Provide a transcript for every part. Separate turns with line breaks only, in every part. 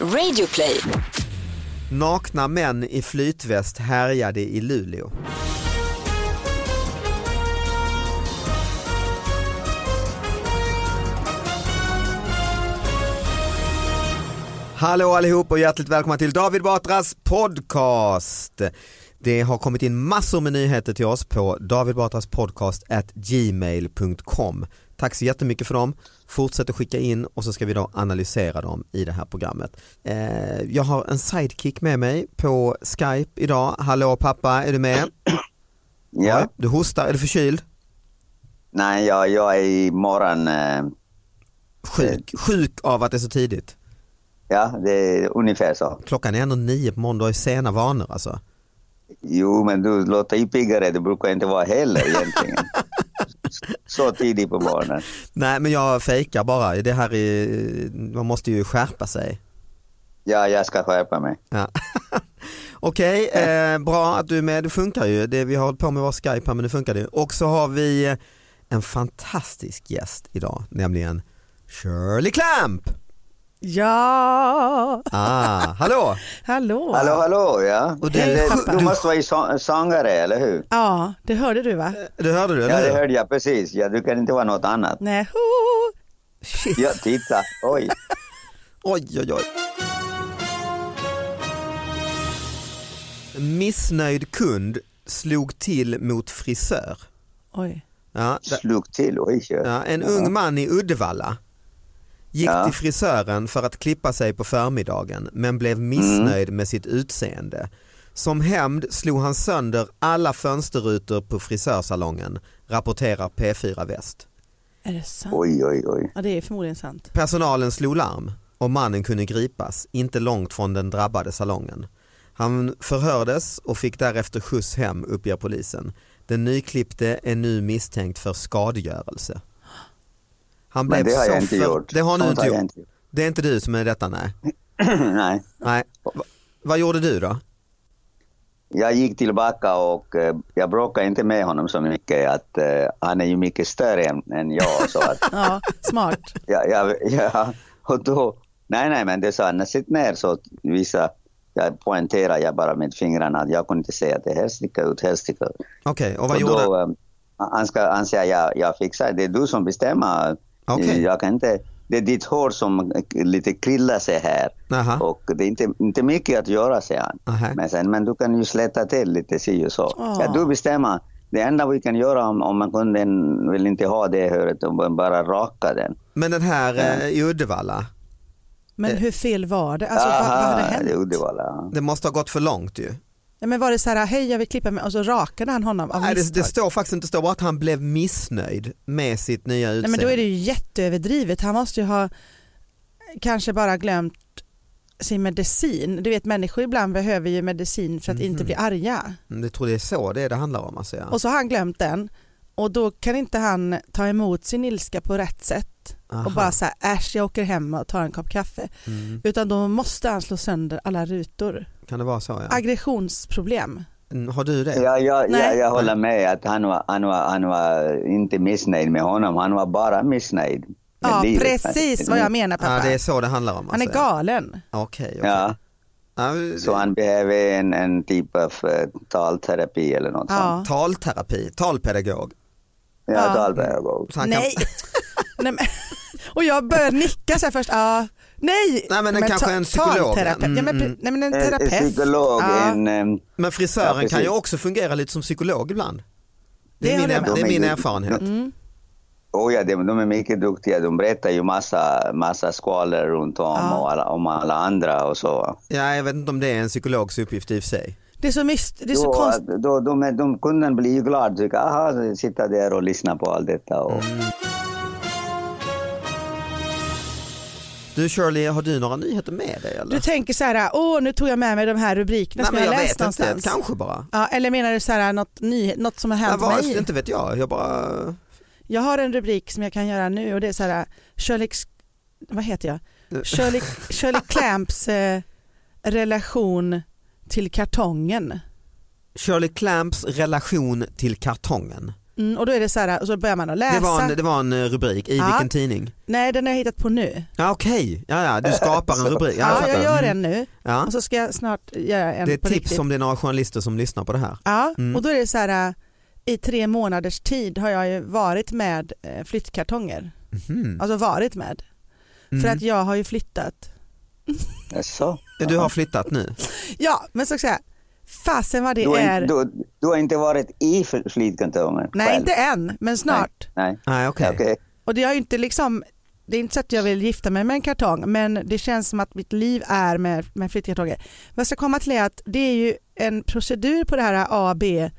Radioplay.
Nakna män i flytväst härjade i Luleå. Hallå allihop och hjärtligt välkomna till David Batras podcast. Det har kommit in massor med nyheter till oss på davidbatraspodcast@gmail.com. Tack så jättemycket för dem. Fortsätt att skicka in och så ska vi då analysera dem i det här programmet. Eh, jag har en sidekick med mig på Skype idag. Hallå pappa, är du med?
Ja.
Oj, Du hostar, är du förkyld?
Nej, jag, jag är i morgon. eh,
Sjuk, sjuk av att det är så tidigt.
Ja, det är ungefär så.
Klockan är ändå nio på måndag, det är sena vanor alltså.
Jo, men du låter ju piggare. Det brukar inte vara heller egentligen. så tidigt på morgonen.
Nej men jag fejkar bara, det här är, man måste ju skärpa sig.
Ja, jag ska skärpa mig.
Ja. Okej, eh, bra att du är med, det funkar ju. Det, vi har hållit på med vår Skype här men det funkar ju. Och så har vi eh, en fantastisk gäst idag, nämligen Shirley Clamp!
Ja,
Ah, hallå!
hallå.
Hallå, hallå, ja.
Och det-
Men
pappa.
du, du måste vara i så, sångare, eller hur?
Ja, det hörde du va?
Det hörde du
Ja,
eller
det
hur?
hörde jag precis. Ja, du kan inte vara något annat.
Nej, ho. Shit.
Ja, titta. Oj.
Oj, oj, oj. Missnöjd kund slog till mot frisör.
Oj.
Ja, det-
Slog till. Oj.
Ja, en ung man i Uddevalla gick
Ja.
till frisören för att klippa sig på förmiddagen men blev missnöjd med sitt utseende. Som hämnd slog han sönder alla fönsterrutor på frisörsalongen, rapporterar P4 Väst.
Är det sant?
Oj, oj, oj.
Ja, det är förmodligen sant.
Personalen slog larm och mannen kunde gripas, inte långt från den drabbade salongen. Han förhördes och fick därefter skjuts hem, uppger polisen. Den nyklippte är nu misstänkt för skadegörelse. Han
Men det har jag
så
inte
för-
gjort.
Det har du
Sånt
inte
har jag
gjort.
inte gjort.
Det är inte du som är detta, nej.
Nej.
nej. Va, vad gjorde du då?
Jag gick tillbaka och eh, jag bråkade inte med honom så mycket. Att, eh, han är ju mycket större än, än jag. Så att,
Ja, smart.
jag, jag, jag, och då, nej, nej, men det sa han, sitt ner. Så visa, jag poängterade jag bara med fingrarna att jag kunde inte säga att det här sticker ut, här sticker ut.
Okej, och vad
och
gjorde
då, eh, han, ska, han säger jag, jag fixar det, det är du som bestämmer. Eh,
Okej.
Jag kan inte, det är ditt hår som eh, lite krillar sig här.
Aha.
Och det är inte, inte mycket att göra, säger han.
Aha.
Men, sen, men du kan ju släta till lite si och så.
Ah.
Ja, du bestämmer. Det enda vi kan göra om, om man kunden vill inte ha det håret, bara raka den.
Men den här eh, i Uddevalla,
Men hur fel var det? Alltså, vad, vad
Aha,
hade
Det är
hänt?
Uddevalla. ja.
det måste ha gått för långt ju.
Nej, men var det så här, hej jag vill klippa mig och så rakade han honom av
Nej, det, det
misstag?
står faktiskt inte, det står bara att han blev missnöjd med sitt nya utseende.
Nej, men då är det ju jätteöverdrivet. Han måste ju ha kanske bara glömt sin medicin. Du vet människor ibland behöver ju medicin för att inte bli arga.
Mm, Jag tror det är så det, det handlar om. Alltså, ja.
Och så har han glömt den och då kan inte han ta emot sin ilska på rätt sätt
Aha.
och bara säga äsch jag åker hem och tar en kopp kaffe.
Mm,
Utan då måste han slå sönder alla rutor.
kan det vara så? Ja.
Aggressionsproblem.
Mm, Har du det?
Ja, ja, ja,
Nej.
jag håller med att han var, han, var, han var inte missnöjd med honom. Han var bara missnöjd med
Ja
livet.
precis vad jag menar
Ja,
pappa.
det är så det handlar om.
Han är
alltså,
galen.
Ja. Okej, okej.
Ja,
Ja, det-
så han behöver en, en typ av eh, talterapi eller något sånt.
Ja.
Talterapi, talpedagog.
Ja,
Ja.
talpedagog.
Så han kan-
Nej. Nej men, och jag började nicka så här först. Ja, nej.
Nej, men det kanske är en psykolog, ja.
talterapeut. Ja, men,
Mm,
pre- nej men en
En, en
terapeut.
Eh, psykolog,
Ja.
en... ehm,
Men
Ja,
frisören
precis.
kan ju också fungera lite som psykolog ibland. Det
Det
är, min,
håller jag Mm.
er-
med.
det är min
De är ju-
erfarenhet.
Oh ja, de, de är mycket duktiga. De berättar ju massa, massa skvaller runt om och alla, om alla andra och så.
Ja, jag vet inte om det är en psykologs uppgift i och för sig.
Det är så, myst, det är så
då,
konstigt.
att- då, de, är- de, kunden blir ju glad. Tycker, aha, sitta där och lyssna på allt detta. Och,
Du Shirley, har du några nyheter med dig eller?
Du tänker så här, åh nu tog jag med mig de här rubrikerna
Nej,
som
men
jag,
jag
läst
vet inte,
någonstans.
kanske bara.
Ja, eller menar du så här, något, ny, något som har
Nej,
hänt
vad-
mig?
inte vet jag, jag bara...
Jag har en rubrik som jag kan göra nu och det är så här, Shirley, vad heter jag? Shirley, Shirley Clamps eh, relation till kartongen.
Shirley Clamps relation till kartongen.
Mm, och då är det så här, och så börjar man att läsa.
Det var, en, det var en eh, rubrik, i
Ja.
vilken tidning?
Nej, den har jag hittat på nu.
Ja okej, ja, ja, du skapar en rubrik.
Ja,
fattar.
jag gör
Mm.
en nu
Ja.
och så ska jag snart göra en
Det är ett
på
tips
riktigt.
om det är några journalister som lyssnar på det här.
Ja,
Mm.
och då är det så här, äh, i tre månaders tid har jag ju varit med eh, flyttkartonger.
Mhm.
Alltså varit med.
Mm.
För att jag har ju flyttat.
Så.
Du har flyttat nu?
Ja, men så ska jag säga, fasen vad det
du, har
är.
inte, du, du har inte varit i fl- flygkontoret
Nej,
själv.
inte än, men snart.
Nej,
Nej okej.
okej.
Och det har ju inte liksom, det är inte så att jag vill gifta mig med en kartong, men det känns som att mitt liv är med, med flyttkartonger. Vad jag ska komma till är att det är ju en procedur på det här A, B,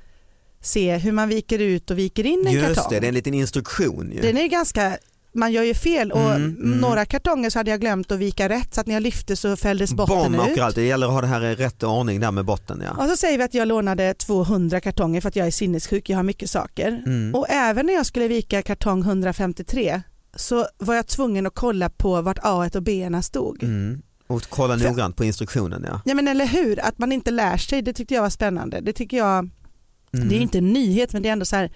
C, hur man viker ut och viker in en
Just
kartong.
det, det är en liten instruktion ju.
Den är ganska, man gör ju fel och
Mm, mm.
några kartonger så hade jag glömt att vika rätt så att när jag lyfte så fälldes botten
Bomb
ut.
och allt, det gäller att ha det här i rätt ordning där med botten ja.
Och så säger vi att jag lånade 200 kartonger för att jag är sinnessjuk, jag har mycket saker.
Mm.
Och även när jag skulle vika kartong 153 så var jag tvungen att kolla på vart A och B stod.
Mm. Och kolla
För-
noggrant på instruktionen ja.
Ja men eller hur, att man inte lär sig, det tyckte jag var spännande. Det tycker jag,
Mm.
det är ju inte en nyhet men det är ändå så här,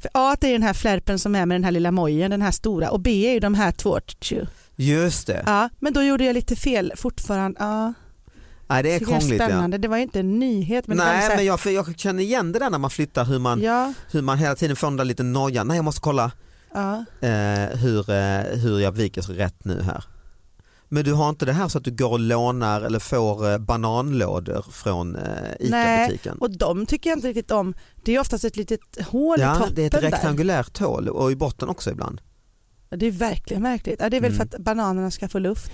för A det är den här flärpen som är med den här lilla mojen, den här stora och B är ju de här två. tju.
Just det,
Ja, men då gjorde jag lite fel fortfarande. Ja,
Nej, det är
tycker jag
krångligt ja.
spännande. Det var ju inte en nyhet men det var
Nej
så här,
men jag, för jag känner igen det där när man flyttar hur man,
ja,
hur man hela tiden får den där lite nojan, nej jag måste kolla
ja.
eh, hur, eh, hur jag viker så rätt nu här. Men du har inte det här så att du går och lånar eller får eh, bananlådor från eh, ICA-butiken?
Och de tycker jag inte riktigt om. Det är oftast ett litet hål i
Ja,
toppen
det är ett
där.
rektangulärt hål och i botten också ibland.
Ja, Det är verkligen märkligt. Ja, det är väl
Mm.
för att bananerna ska få luft.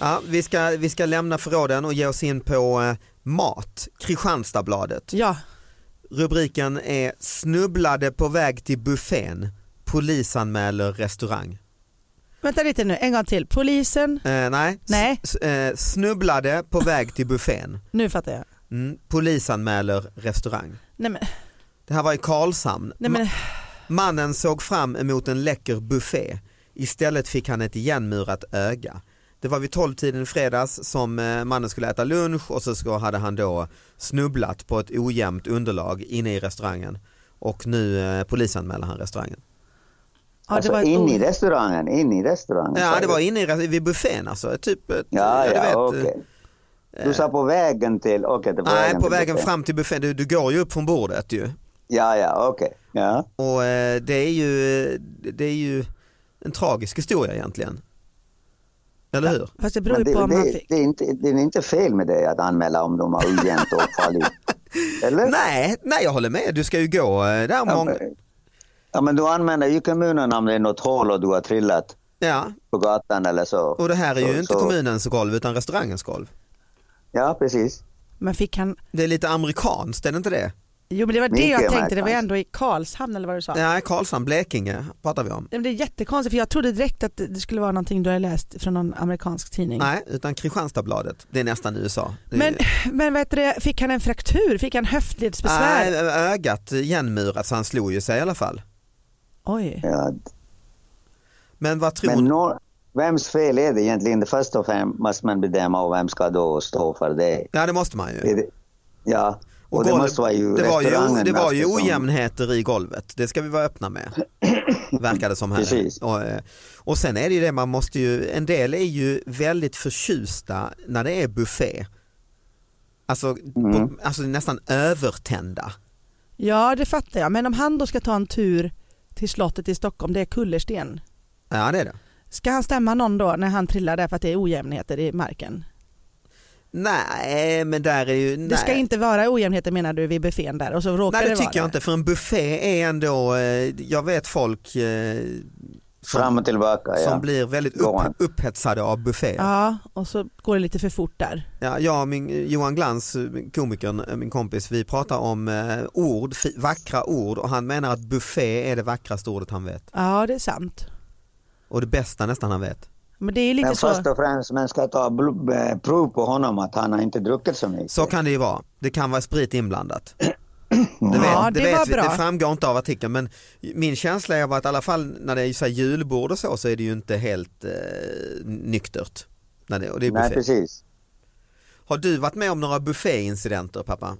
Ja, vi, ska, vi ska lämna förråden och ge oss in på eh, mat. Kristianstadsbladet.
Ja,
Rubriken är snubblade på väg till buffén. Polisanmäler restaurang.
vänta lite nu, en gång till. Polisen,
Eh, nej,
Nej.
S- eh, snubblade på väg till buffén.
nu fattar jag.
Mm. Polisanmäler restaurang.
Nej men,
Det här var i Karlshamn.
nej, men
Ma- Mannen såg fram emot en läcker buffé. Istället fick han ett igenmurat öga. Det var vid 12-tiden i fredags som eh, mannen skulle äta lunch och så ska- hade han då snubblat på ett ojämnt underlag inne i restaurangen. Och nu eh, polisanmäler han restaurangen.
ja,
Alltså,
ett
in i
ord.
restaurangen, in i restaurangen.
Ja
sa
det
du.
var inne i, res- vid buffén alltså. Typ, ett-
Ja,
du
ja,
vet,
okej.
eh,
Du sa på vägen till, okej. det var
Nej, på
till
vägen
buffén.
fram till buffén. Du, du går ju upp från bordet ju.
Ja, ja, okej. Ja.
Och eh, det är ju, det är ju en tragisk historia egentligen. Eller hur?
Fast det beror
Men
ju på
det,
om han
det,
fick.
det, är inte, det är inte fel med dig att anmäla om de har ojämnt åkfall. Eller?
Nej, nej jag håller med. Du ska ju gå eh, där
Ja,
många...
men- ja, men du använder ju kommunen om det är något hål och du har trillat
Ja,
på gatan eller så.
och det här är ju
så,
inte
så-
kommunens golv utan restaurangens golv.
Ja, precis.
Men fick han,
Det är lite amerikanskt, är det inte det?
jo men det var det
Mycket
jag tänkte, det var
märkligt.
ändå i Karlshamn eller vad du sa.
Nej, Karlshamn, Blekinge pratar vi om.
Nej, men Det är jättekonstigt för jag trodde direkt att det det skulle vara någonting du hade läst från någon amerikansk tidning.
Nej, utan Kristianstadsbladet. Det är nästan USA. Det är-
Men, men vad heter det, fick han en fraktur? Fick han höftledsbesvär?
Nej, ögat igenmurat så han slog ju sig i alla fall.
Oj.
Ja.
Men vad tror
Men
du?
nå- vems fel är det egentligen? Det först och främst måste man bedöma och vem ska då stå för det.
Ja det måste man ju.
Är det ja, och, det
golv-
måste vara ju
det var ju,
restaurangen
det var ju
alltså som-
ojämnheter i golvet, det ska vi vara öppna med. Verkar det som här.
Precis.
Och, eh, och sen är det ju det, man måste ju, en del är ju väldigt förtjusta när det är buffé. Alltså, på,
Mm.
alltså nästan övertända.
Ja det fattar jag, men om han då ska ta en tur till slottet i Stockholm, det är kullersten.
Ja det är det.
Ska han stämma någon då när han trillar där för att det är ojämnheter i marken?
Nej men där är ju, nej.
Det ska inte vara ojämnheter menar du vid buffén där och så råkar
nej det
det vara
tycker jag inte för en buffé är ändå, eh, jag vet folk eh, som,
Fram och tillbaka,
som
ja.
blir väldigt
Go
upp,
on.
upphetsade av bufféer.
Ja, och så går det lite för fort där.
Ja, jag och min, Johan Glans, eh, komikern, min kompis, vi pratar om eh, ord, fi- vackra ord och han menar att buffé är det vackraste ordet han vet.
Ja, det är sant.
Och det bästa nästan han vet.
Men det är lite
Men
så.
först och främst, man ska ta bl- eh, prov på honom att han har inte druckit så mycket.
Så kan det ju vara. Det kan vara sprit inblandat.
Ja, det var
vi.
bra.
det framgår inte av artikeln men min känsla är att i alla fall när det är så här julbord och så så är det ju inte helt eh, nyktert. När det, och det är
Nej,
buffé.
precis.
Har du varit med om några bufféincidenter pappa?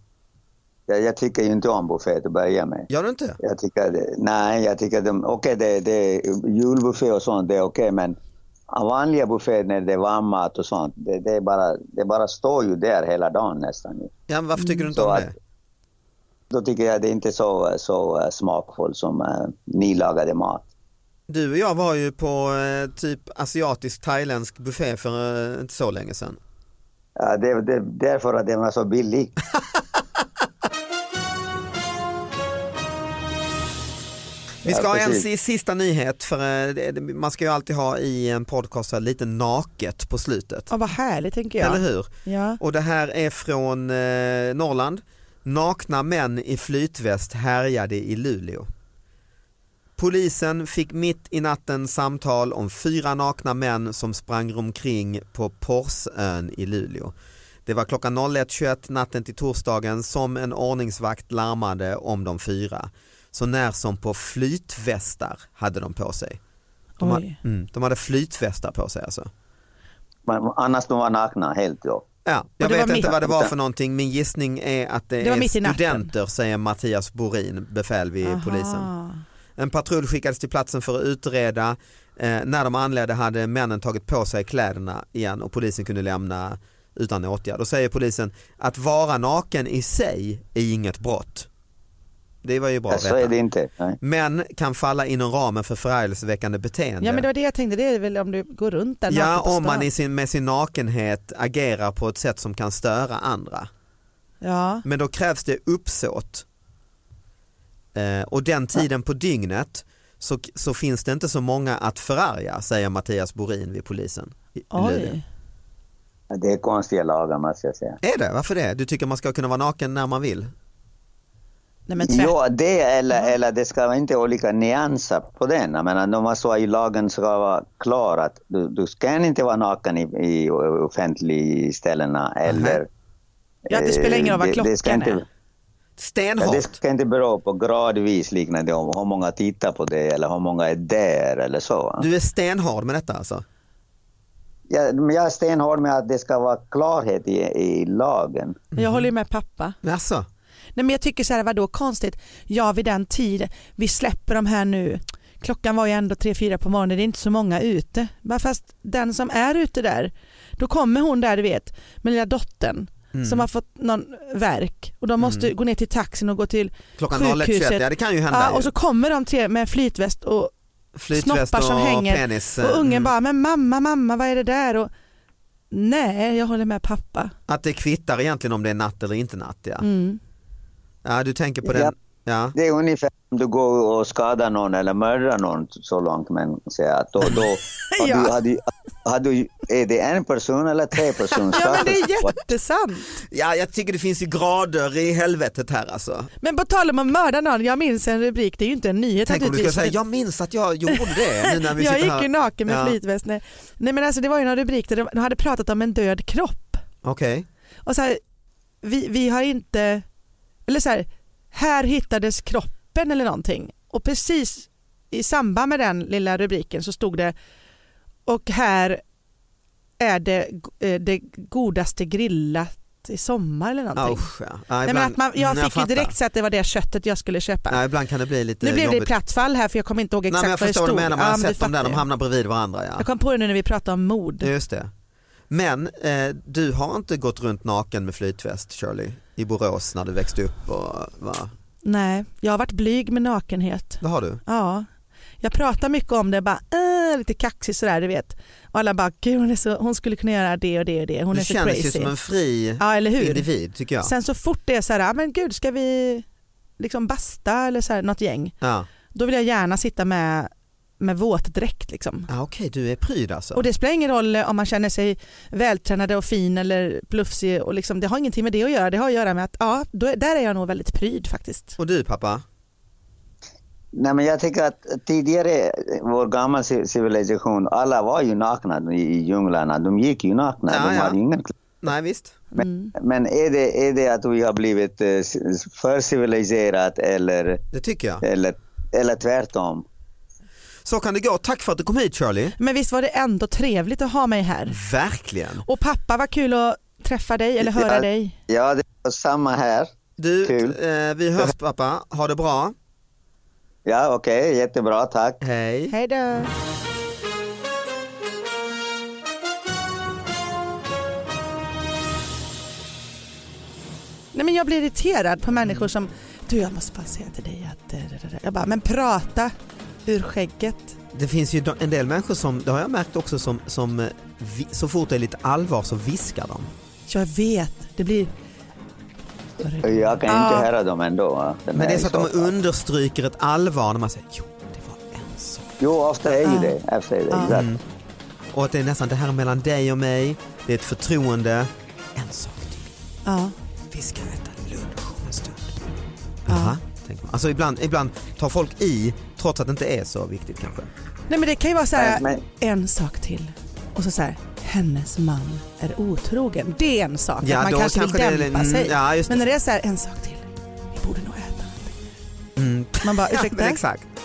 Jag, jag tycker ju inte om buffé till att börja med.
Gör du inte?
Jag tycker, det- nej, jag tycker de, okej det, det julbuffé och sånt, det är okej men vanliga bufféer när det är varm mat och sånt, det, det, är bara, det bara står ju där hela dagen nästan. ju.
Ja, men varför tycker
Mm,
du inte
Så
om
att-
det?
Då tycker jag det är inte så, så eh, smakfull som eh, nylagade mat.
Du och jag var ju på eh, typ asiatisk thailändsk buffé för eh, inte så länge sedan.
Ja, det, det, därför att den var så billig.
Vi ska
Ja,
ha en
precis.
si- sista nyhet för eh, det- det- man ska ju alltid ha i en podcast så här lite naket på slutet.
Ja, vad härligt tänker
Eller
jag.
hur?
Ja.
Och det här är från eh, Norrland. Nakna män i flytväst härjade i Luleå. Polisen fick mitt i natten samtal om fyra nakna män som sprang omkring på Porsön i Luleå. Det var klockan 01.21 natten till torsdagen som en ordningsvakt larmade om de fyra. Så när som på flytvästar hade de på sig. De, ha,
Oj.
mm, de hade flytvästar på sig alltså.
Men annars de var nakna helt då.
Ja, jag
det
vet
var
inte
mitt-
vad det var för någonting. Min gissning är att det,
Det var
är
mitt i natten.
studenter säger Mattias Borin, befäl vid
Aha.
polisen. En patrull skickades till platsen för att utreda. Eh, när de anlände hade männen tagit på sig kläderna igen och polisen kunde lämna utan åtgärd. Då säger polisen att vara naken i sig är inget brott. Det var ju bra
Ja,
att
så är
veta.
det inte. Nej.
Men kan falla inom ramen för förargelseväckande beteende.
Ja men det var det jag tänkte, det är väl om du går runt där
Ja,
naken på
om man
stan.
i sin, med sin nakenhet agerar på ett sätt som kan störa andra.
Ja,
Men då krävs det uppsåt. Eh, och den tiden på dygnet så, så finns det inte så många att förarga säger Mattias Borin vid polisen. i- i Luleå.
oj.
Ja, Det är konstiga lagar måste jag säga.
Är det? Varför det? Du tycker man ska kunna vara naken när man vill?
Nej men tvärt.
Ja, det eller, eller det ska vara inte olika nyanser på den. Jag menar, de måste vara i lagen ska vara klar att du, du ska inte vara naken i, i offentliga ställena eller...
Ja, det spelar ingen roll vad
Eh, det- det ska
klockan
inte- Ja,
är.
det
Stenhårt.
ska inte bero på gradvis liknande om hur många tittar på det eller hur många är där eller så. va?
Du är stenhård med detta alltså?
Ja, men jag är stenhård med att det ska vara klarhet i, i lagen.
Men Jag håller ju med pappa.
Jaså?
Nej men jag tycker så här, vadå konstigt? Ja vid den tiden, vi släpper de här nu. Klockan var ju ändå tre fyra på morgonen, det är inte så många ute. Bara fast den som är ute där, då kommer hon där du vet, med lilla dottern
Mm.
som har fått någon verk och de måste gå ner till taxin och gå till
Klockan
sjukhuset.
01.21, ja det kan ju hända.
Ja, och
ju.
så kommer de tre med flytväst och
Flytväst
snoppar som
och
hänger
penis. eh,
Och ungen
mm.
bara, men mamma, mamma, vad är det där? Och, Nej, jag håller med pappa.
Att det kvittar egentligen om det är natt eller inte natt ja.
Mm.
ja du tänker på
Ja.
den. Ja.
Det är ungefär om du går och skadar någon eller mördar någon så långt men säger att då, då har
Ja.
du, har du, har du, är det en person eller tre personer?
Ja men det är jättesant.
ja jag tycker det finns ju grader i helvetet här alltså.
Men på tal om att mörda någon, jag minns en rubrik, det är ju inte en nyhet
Tänk om du ska
naturligtvis.
säga, jag minns att jag gjorde det nu när vi
jag
sitter
gick
här.
ju naken med
Ja.
flytväst. Nej. Nej men alltså det var ju någon rubrik där de de hade pratat om en död kropp.
Okej,
Och så här, vi, vi har inte, eller så här, här hittades kroppen eller någonting. Och precis i samband med den lilla rubriken så stod det, och här är det, eh, det godaste grillat i sommar eller någonting.
usch ja. Ja,
Nej, men
ibland-
att man, jag
Mm,
fick ju
fattar.
direkt så att det var det köttet jag skulle köpa.
Ja, ibland kan det bli lite
Nu blev det
jobbigt.
ett platt fall här för jag kommer inte ihåg
Nej,
exakt
men jag
vad det
förstår vad
stod.
du menar, man
Ja,
har
men du
sett dem där,
fattar
de
ju.
hamnar bredvid varandra. Ja.
Jag kom på det nu när vi pratade om mord.
Just det. Men eh, du har inte gått runt naken med flytväst Shirley i Borås när du växte upp? Och, va?
Nej, jag har varit blyg med nakenhet.
Det har du?
Ja. Jag pratar mycket om det, bara äh, lite kaxig sådär du vet. Och alla bara, gud hon, är så, hon skulle kunna göra det och det och det, hon
du
är så
känns ju
crazy.
som en fri
Ja eller hur.
individ tycker jag.
Sen så fort det är så här, "Ah, men gud ska vi liksom basta eller så här, något gäng,
Ja.
då vill jag gärna sitta med, med våtdräkt liksom.
Ja, Okej, du är pryd alltså?
Och det spelar ingen roll om man känner sig vältränade och fin eller plufsig och liksom, det har ingenting med det att göra. Det har att göra med att ja, då, är- där är jag nog väldigt pryd faktiskt.
och du pappa?
Nej, men jag tycker att tidigare, vår gamla ci- civilisation, alla var ju nakna i, i djunglarna. De gick ju nakna,
Ja,
de
ja.
hade ju ingen kläder.
Nej visst?
Men,
Mm.
men är, det, är det att vi har blivit eh, s- för civiliserat eller,
Det tycker jag.
eller, eller tvärtom?
Så kan det gå. Tack för att du kom hit Shirley.
Men visst var det ändå trevligt att ha mig här.
Verkligen.
Och pappa, vad kul att träffa dig eller höra
ja,
dig.
Ja, det var samma här.
Du,
Kul.
eh, vi hörs pappa. Ha det bra.
Ja, okej, jättebra, tack.
Hej.
Hej då. Nej men jag blir irriterad på människor som, du jag måste bara säga till dig att, eh, det, det, det." jag bara, men prata ur skägget.
Det finns ju en del människor som, det har jag märkt också, som, som eh, vi- så fort det är lite allvar så viskar de.
Jag vet, det blir...
Jag kan
Ja.
inte höra dem ändå. va? Den
Men det är
här
så att de
soffan.
understryker ett allvar när man säger jo, det var en sak.
Jo, ofta är ju
Ja.
det. Ofta är det, exakt.
Och att det är nästan det här är mellan dig och mig, det är ett förtroende. En sak till,
Ja,
vi ska äta lunch om en stund. Jaha, tänker man. Alltså ibland, ibland tar folk i trots att det inte är så viktigt kanske.
nej men det kan ju vara så här,
Men-
en sak till. Och så så här, hennes man är otrogen. Det är en sak,
Ja,
att
då
man kanske,
kanske det
vill
är-
dämpa
mm,
sig.
ja, just
men
det.
när det är så här, en sak till, vi borde nog äta någonting.
Mm.
Man bara,
Ja,
ursäkta?
men exakt.